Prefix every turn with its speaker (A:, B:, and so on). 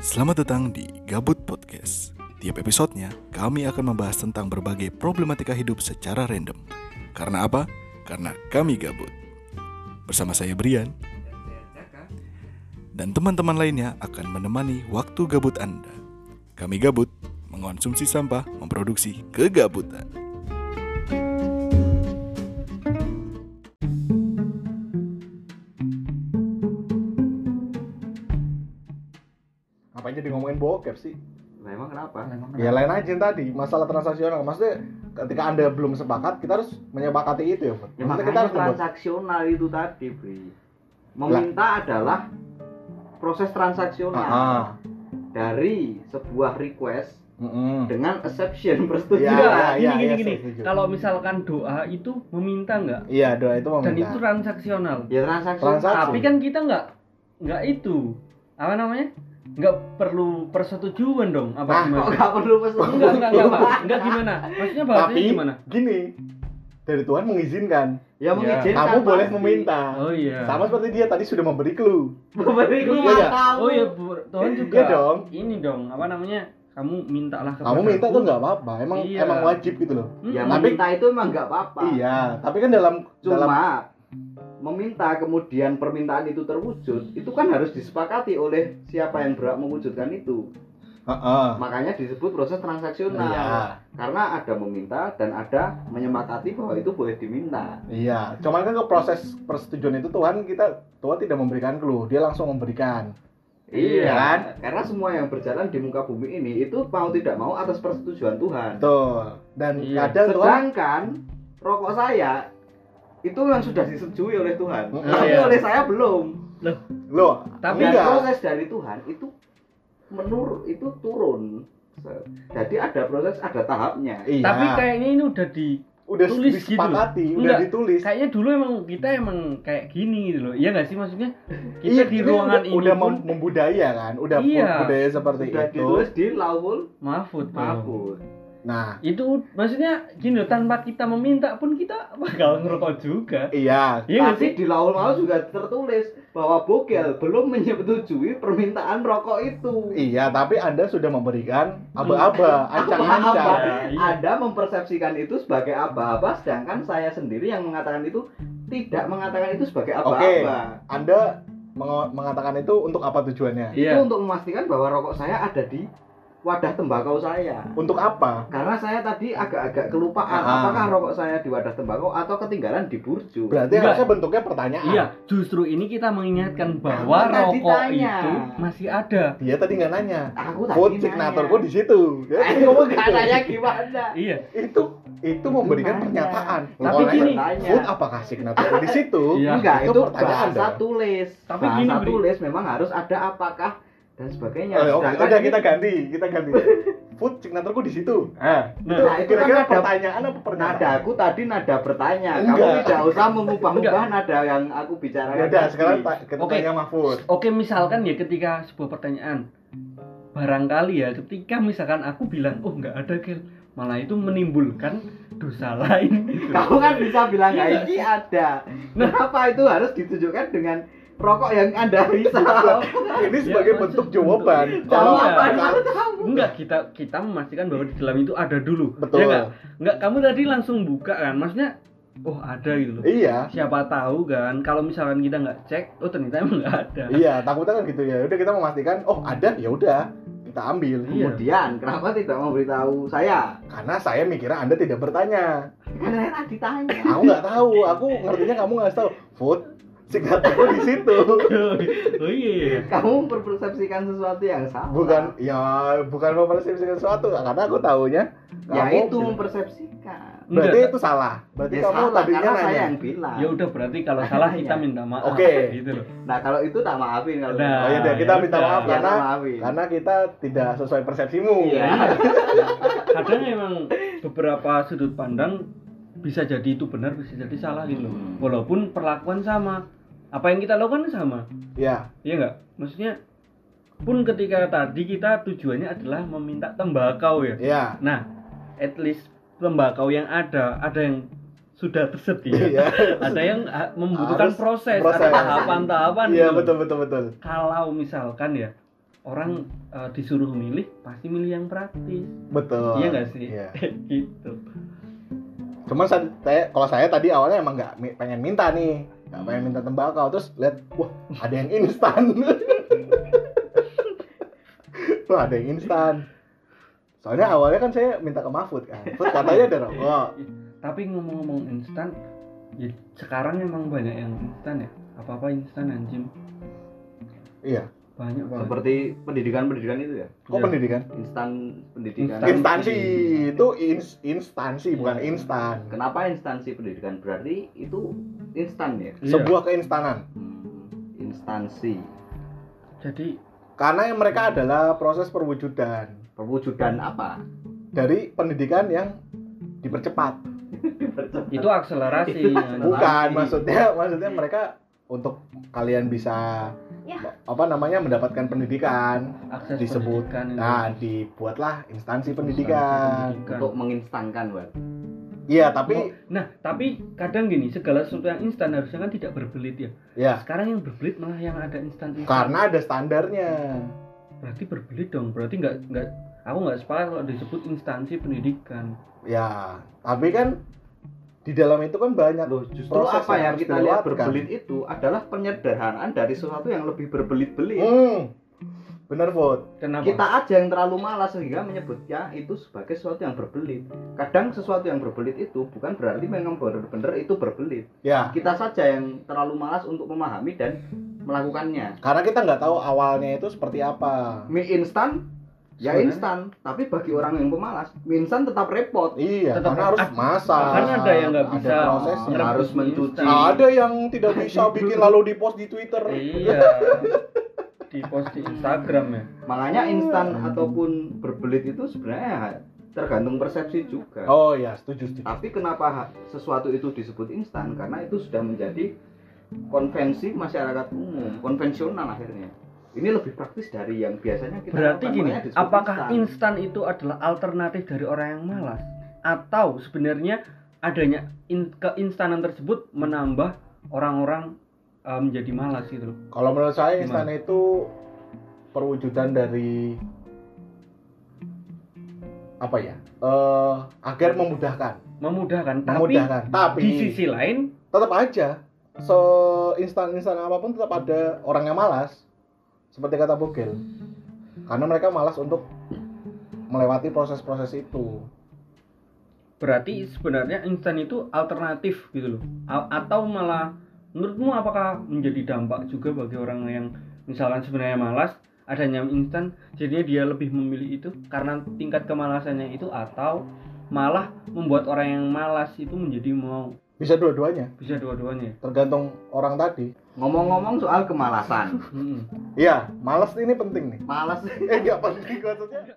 A: Selamat datang di Gabut Podcast. Tiap episodenya, kami akan membahas tentang berbagai problematika hidup secara random. Karena apa? Karena kami gabut. Bersama saya Brian dan teman-teman lainnya akan menemani waktu gabut Anda. Kami gabut, mengonsumsi sampah, memproduksi kegabutan.
B: Ngapain jadi ngomongin bokep sih?
C: Nah, emang kenapa?
B: Ya lain aja yang tadi, masalah transaksional. Maksudnya ketika Anda belum sepakat, kita harus menyepakati itu ya. Pak?
C: Ya,
B: Maksudnya
C: makanya
B: kita harus membuat
C: transaksional itu tadi, Bri. Meminta adalah proses transaksional
B: Ah,
C: dari sebuah request
B: mm-mm.
C: dengan exception persetujuan.
B: Iya,
D: Enggak,
B: iya,
D: gini
B: iya,
D: gini
B: saya setuju.
D: gini. Kalau misalkan doa itu meminta enggak?
B: Iya, doa itu
D: Dan itu
B: meminta.
D: transaksional.
C: Ya transaksional.
B: Transaksi.
D: Tapi kan kita enggak enggak itu. Apa namanya? Enggak perlu persetujuan dong apa
B: Nah,
D: gimana?
C: Kok nggak perlu
D: Enggak,
C: persetujuan?
D: enggak, enggak, Pak. enggak gimana? Maksudnya bahasanya
B: Tapi
D: gimana?
B: gini, dari Tuhan mengizinkan.
C: Ya mengizinkan.
B: Kamu boleh
C: pasti.
B: meminta.
D: Oh iya.
B: Sama seperti dia tadi sudah memberi clue.
C: Memberi
B: Iya,
C: rumah
B: iya.
C: kamu.
D: Oh iya, Bu. Tuhan juga.
B: Iya dong.
D: Ini dong, apa namanya? Kamu mintalah kepada
B: Kamu minta
D: aku. Hmm.
B: tuh nggak apa-apa. Emang
D: Iya.
B: emang wajib gitu loh.
D: Mm-mm.
C: Ya
B: Tapi-
C: meminta itu emang nggak apa-apa.
B: Iya, tapi kan dalam dalam
C: Cuma meminta kemudian permintaan itu terwujud itu kan harus disepakati oleh siapa yang berhak mewujudkan itu
B: Heeh.
C: makanya disebut proses transaksional
B: Iya.
C: karena ada meminta dan ada menyepakati bahwa itu boleh diminta
B: Iya, cuman kan ke proses persetujuan itu Tuhan kita Tuhan tidak memberikan clue, dia langsung memberikan. Iya kan?
C: karena semua yang berjalan di muka bumi ini itu mau tidak mau atas persetujuan Tuhan
B: Betul. Dan
D: Iya.
B: kadang Tuhan
C: sedangkan rokok saya itu yang sudah disetujui oleh Tuhan
B: Mm,
C: tapi
D: iya.
C: oleh saya belum
B: loh,
D: Tapi
C: dan
B: enggak.
C: proses dari Tuhan itu menur itu turun jadi ada proses ada tahapnya
B: Iya.
D: Tapi kayaknya ini udah di
B: udah
D: tulis gitu.
B: disepakati, udah
D: Enggak.
B: ditulis.
D: kayaknya dulu emang kita emang kayak gini gitu loh. Iya nggak sih maksudnya?
B: Iya,
D: Kita di
B: ini
D: ruangan
B: udah,
D: ini
B: udah
D: pun
B: mem- membudaya kan, udah
D: Iya.
B: budaya seperti
C: sudah
B: itu.
C: ditulis di laul
D: mahfud tuh.
C: mahfud
B: Nah,
D: itu maksudnya gini loh, tanpa kita meminta pun kita bakal ngerokok juga
B: iya.
D: iya nggak
C: Tapi
D: sih
C: di laul mau juga tertulis bahwa Bogel belum menyetujui permintaan rokok itu.
B: Iya, tapi Anda sudah memberikan aba-aba,
C: Apa-apa.
B: ancang-ancang.
D: Iya, iya.
C: Anda mempersepsikan itu sebagai apa-apa, sedangkan saya sendiri yang mengatakan itu tidak mengatakan itu sebagai apa-apa.
B: Anda mengo- mengatakan itu untuk apa tujuannya?
D: iya
C: Itu untuk memastikan bahwa rokok saya ada di wadah tembakau saya.
B: Untuk apa?
C: Karena saya tadi agak-agak kelupaan
B: Ah.
C: apakah rokok saya di wadah tembakau atau ketinggalan di burju.
B: Berarti
D: Enggak.
B: harusnya bentuknya pertanyaan.
D: iya justru ini kita mengingatkan
C: Nah,
D: bahwa
C: tadi
D: rokok
C: tanya.
D: itu masih ada
B: Dia tadi nggak nanya.
C: Aku tadi
B: Quote
C: nanya. Eh,
B: signator gue di situ. Ya, dia ngomong gitu.
C: Katanya gimana?
D: iya
B: Itu itu memberikan
C: Nanya.
B: pernyataan.
D: Tapi
B: Kalau
D: gini,
B: nanya,
C: Tanya.
B: quote apakah signator gue di situ?
D: Iya.
C: enggak
B: itu
C: Ya, itu,
B: pertanyaan
C: bahasa
B: dong.
C: tulis
D: Tapi
C: bahasa
D: gini, Bri.
C: tulis memang harus ada apakah dan sebagainya
B: Oh, ya, oke.
C: Sedangkan
B: udah
C: ini-
B: kita ganti, kita ganti. Food signator gue di situ. Ah, itu
C: Nah, itu
B: kira-kira
C: kan ada-
B: pertanyaan apa
C: nada
B: pernyataan?
C: aku tadi nada bertanya
B: Enggak.
C: kamu tidak usah mengubah-ubah nada yang aku bicarakan
B: Ya udah,
C: tadi.
B: sekarang ta- kita
D: Oke.
B: tanya Mahfud.
D: oke misalkan ya ketika sebuah pertanyaan barangkali ya ketika misalkan aku bilang oh nggak ada gel malah itu menimbulkan dosa lain gitu.
C: kamu kan bisa bilang
D: Iya.
C: "Nah, ini ada kenapa itu harus ditunjukkan dengan rokok yang anda risau
B: Ini sebagai
D: maksud-
B: bentuk jawaban. Iya.
D: bentuk-
B: Kalau
D: Jawaban.
B: kalau-
D: Enggak, kita kita memastikan bahwa di dalam itu ada dulu.
B: betul.
C: Iya
D: Ya enggak? Enggak, kamu tadi langsung buka kan. Maksudnya oh ada gitu loh.
B: Iya.
D: Siapa tahu kan kalau misalkan kita nggak cek, oh ternyata emang nggak ada.
B: Iya, takutnya kan gitu ya. Udah kita memastikan, oh ada, ya udah kita ambil.
D: Iya.
C: kemudian kenapa tidak memberitahu saya
B: Karena saya mikirnya Anda tidak bertanya.
C: karena tadi tanya
B: aku nggak tahu aku ngertinya kamu nggak tahu food signatur gua di situ
D: oh iya.
C: kamu mempersepsikan sesuatu yang salah
B: bukan ya bukan mempersepsikan sesuatu karena aku tahunya
C: ya
B: kamu- gitu.
C: itu mempersepsikan
B: berarti
D: Enggak.
B: itu salah berarti
C: Ya,
B: kamu
C: salah,
B: tadinya
C: karena saya
B: nanya
C: yang bilang.
D: Ya udah berarti kalau salah kita minta maaf
B: Oke.
D: gitu loh.
C: Nah, kalau itu tak maafin kalau
B: Oh,
D: Nah,
B: ya udah, kita
D: ya
B: minta
D: udah.
B: maaf,
C: ya,
B: Karena-
C: tak maafin.
B: karena kita tidak sesuai persepsimu
C: Iya.
D: Kadang emang beberapa sudut pandang bisa jadi itu benar, bisa jadi salah gitu loh.
C: Hmm.
D: Walaupun perlakuan sama. Apa yang kita lakukan sama.
B: Iya.
D: Iya nggak? Maksudnya pun ketika tadi kita tujuannya adalah meminta tembakau ya.
B: Iya.
D: Nah, at least tembakau yang ada, ada yang sudah tersedia,
B: iya
D: ada yang ah, membutuhkan
B: Harus
D: proses,
B: proses.
D: ada tahapan-tahapan
B: iya
D: gitu.
B: betul betul betul
D: Kalau misalkan ya orang eh, disuruh milih pasti milih yang praktis
B: Betul.
D: iya nggak sih
B: Iya.
D: gitu
B: Cuman sa- saya, kalau saya tadi awalnya emang nggak mi- pengen minta nih, nggak pengen minta tembakau, terus lihat, wah ada yang instan. wah ada yang instan. Soalnya awalnya kan saya minta ke Mahfud kan, Mahfud katanya ada "Oh, rokok.
D: tapi ngomong-ngomong instan ya sekarang emang banyak yang instan ya apa apa instan anjing
B: Iya.
D: banyak banget
C: Seperti pendidikan-pendidikan itu ya.
B: Kok
D: Iya.
B: pendidikan?
C: Instan pendidikan.
D: Instansi.
B: Instansi itu ins- instansi bukan
D: Iya.
B: instan.
C: Kenapa instansi pendidikan? Berarti itu instan ya.
D: Iya.
B: Sebuah keinstanan.
C: Hmm, Instansi
D: jadi
B: Karena yang mereka adalah proses perwujudan
C: perwujudan apa?
B: dari pendidikan yang dipercepat.
D: itu akselerasi anjing.
B: Bukan maksudnya maksudnya mereka untuk kalian bisa apa namanya mendapatkan pendidikan.
D: akses
B: Disebut.
D: pendidikan itu.
B: Nah, dibuatlah instansi
D: Akses
B: pendidikan.
D: pendidikan.
C: Untuk menginstankan, Wan.
B: Iya, tapi
D: nah tapi kadang gini segala sesuatu yang instan harusnya kan tidak berbelit ya
B: ya
D: sekarang yang berbelit malah yang ada instan instan
B: karena ada standarnya.
D: berarti berbelit dong berarti nggak nggak aku nggak sepakat kalau disebut instansi pendidikan
B: Ya, tapi kan di dalam itu kan banyak
C: Loh, justru
B: Proses
C: apa
B: yang
C: yang
B: harus
C: kita lihat
B: dilewatkan.
C: berbelit itu adalah penyederhanaan dari sesuatu yang lebih berbelit-belit.
B: Hmm, bener Bud.
D: kenapa
C: Kita aja yang terlalu malas sehingga menyebutnya itu sebagai sesuatu yang berbelit. Kadang sesuatu yang berbelit itu bukan berarti memang benar-benar itu berbelit.
B: Ya,
C: Kita saja yang terlalu malas untuk memahami dan melakukannya.
B: karena kita nggak tahu awalnya itu seperti apa.
C: Mie instan ya
D: Sebenarnya-
C: instan, tapi bagi orang yang pemalas, mie instan tetap repot.
B: Iya,
D: Tetap
B: karena
D: ada-
B: harus
D: ada-
B: masak.
D: kan ada yang nggak
B: ada
D: bisa
B: prosesnya.
D: ngerebus
C: Harus
D: mie
C: mencuci.
D: instan.
B: Nah, ada yang tidak bisa bikin lalu di post di Twitter.
D: iya di post di Instagram ya
C: Makanya instan ataupun berbelit itu sebenarnya ya tergantung persepsi juga.
B: Oh iya, setuju setuju.
C: Tapi kenapa ha- sesuatu itu disebut instan? Karena itu sudah menjadi konvensi masyarakat umum, konvensional akhirnya. Ini lebih praktis dari yang biasanya kita
D: berarti
C: lakukan,
D: gini
C: makanya disebut
D: apakah instan itu adalah alternatif dari orang yang malas atau sebenarnya adanya in- keinstanan tersebut menambah orang-orang eh, menjadi malas gitu loh
B: Kalau menurut saya
D: Gimana?
B: instan itu perwujudan dari apa ya? Eh, agar memudahkan,
D: memudahkan tapi
B: memudahkan. Tapi
D: di sisi lain
B: tetap aja se instan instan apapun tetap ada orang yang malas seperti kata Bogel karena mereka malas untuk melewati proses-proses itu
D: berarti sebenarnya instan itu alternatif gitu loh A- atau malah menurutmu apakah menjadi dampak juga bagi orang yang misalkan sebenarnya malas adanya instan jadinya dia lebih memilih itu karena tingkat kemalasannya itu atau malah membuat orang yang malas itu menjadi mau
B: bisa dua-duanya
D: bisa dua-duanya ya?
B: tergantung orang tadi
C: Ngomong-ngomong soal kemalasan,
D: Mm-mm.
B: iya malas ini penting nih
C: malas
B: eh nggak penting maksudnya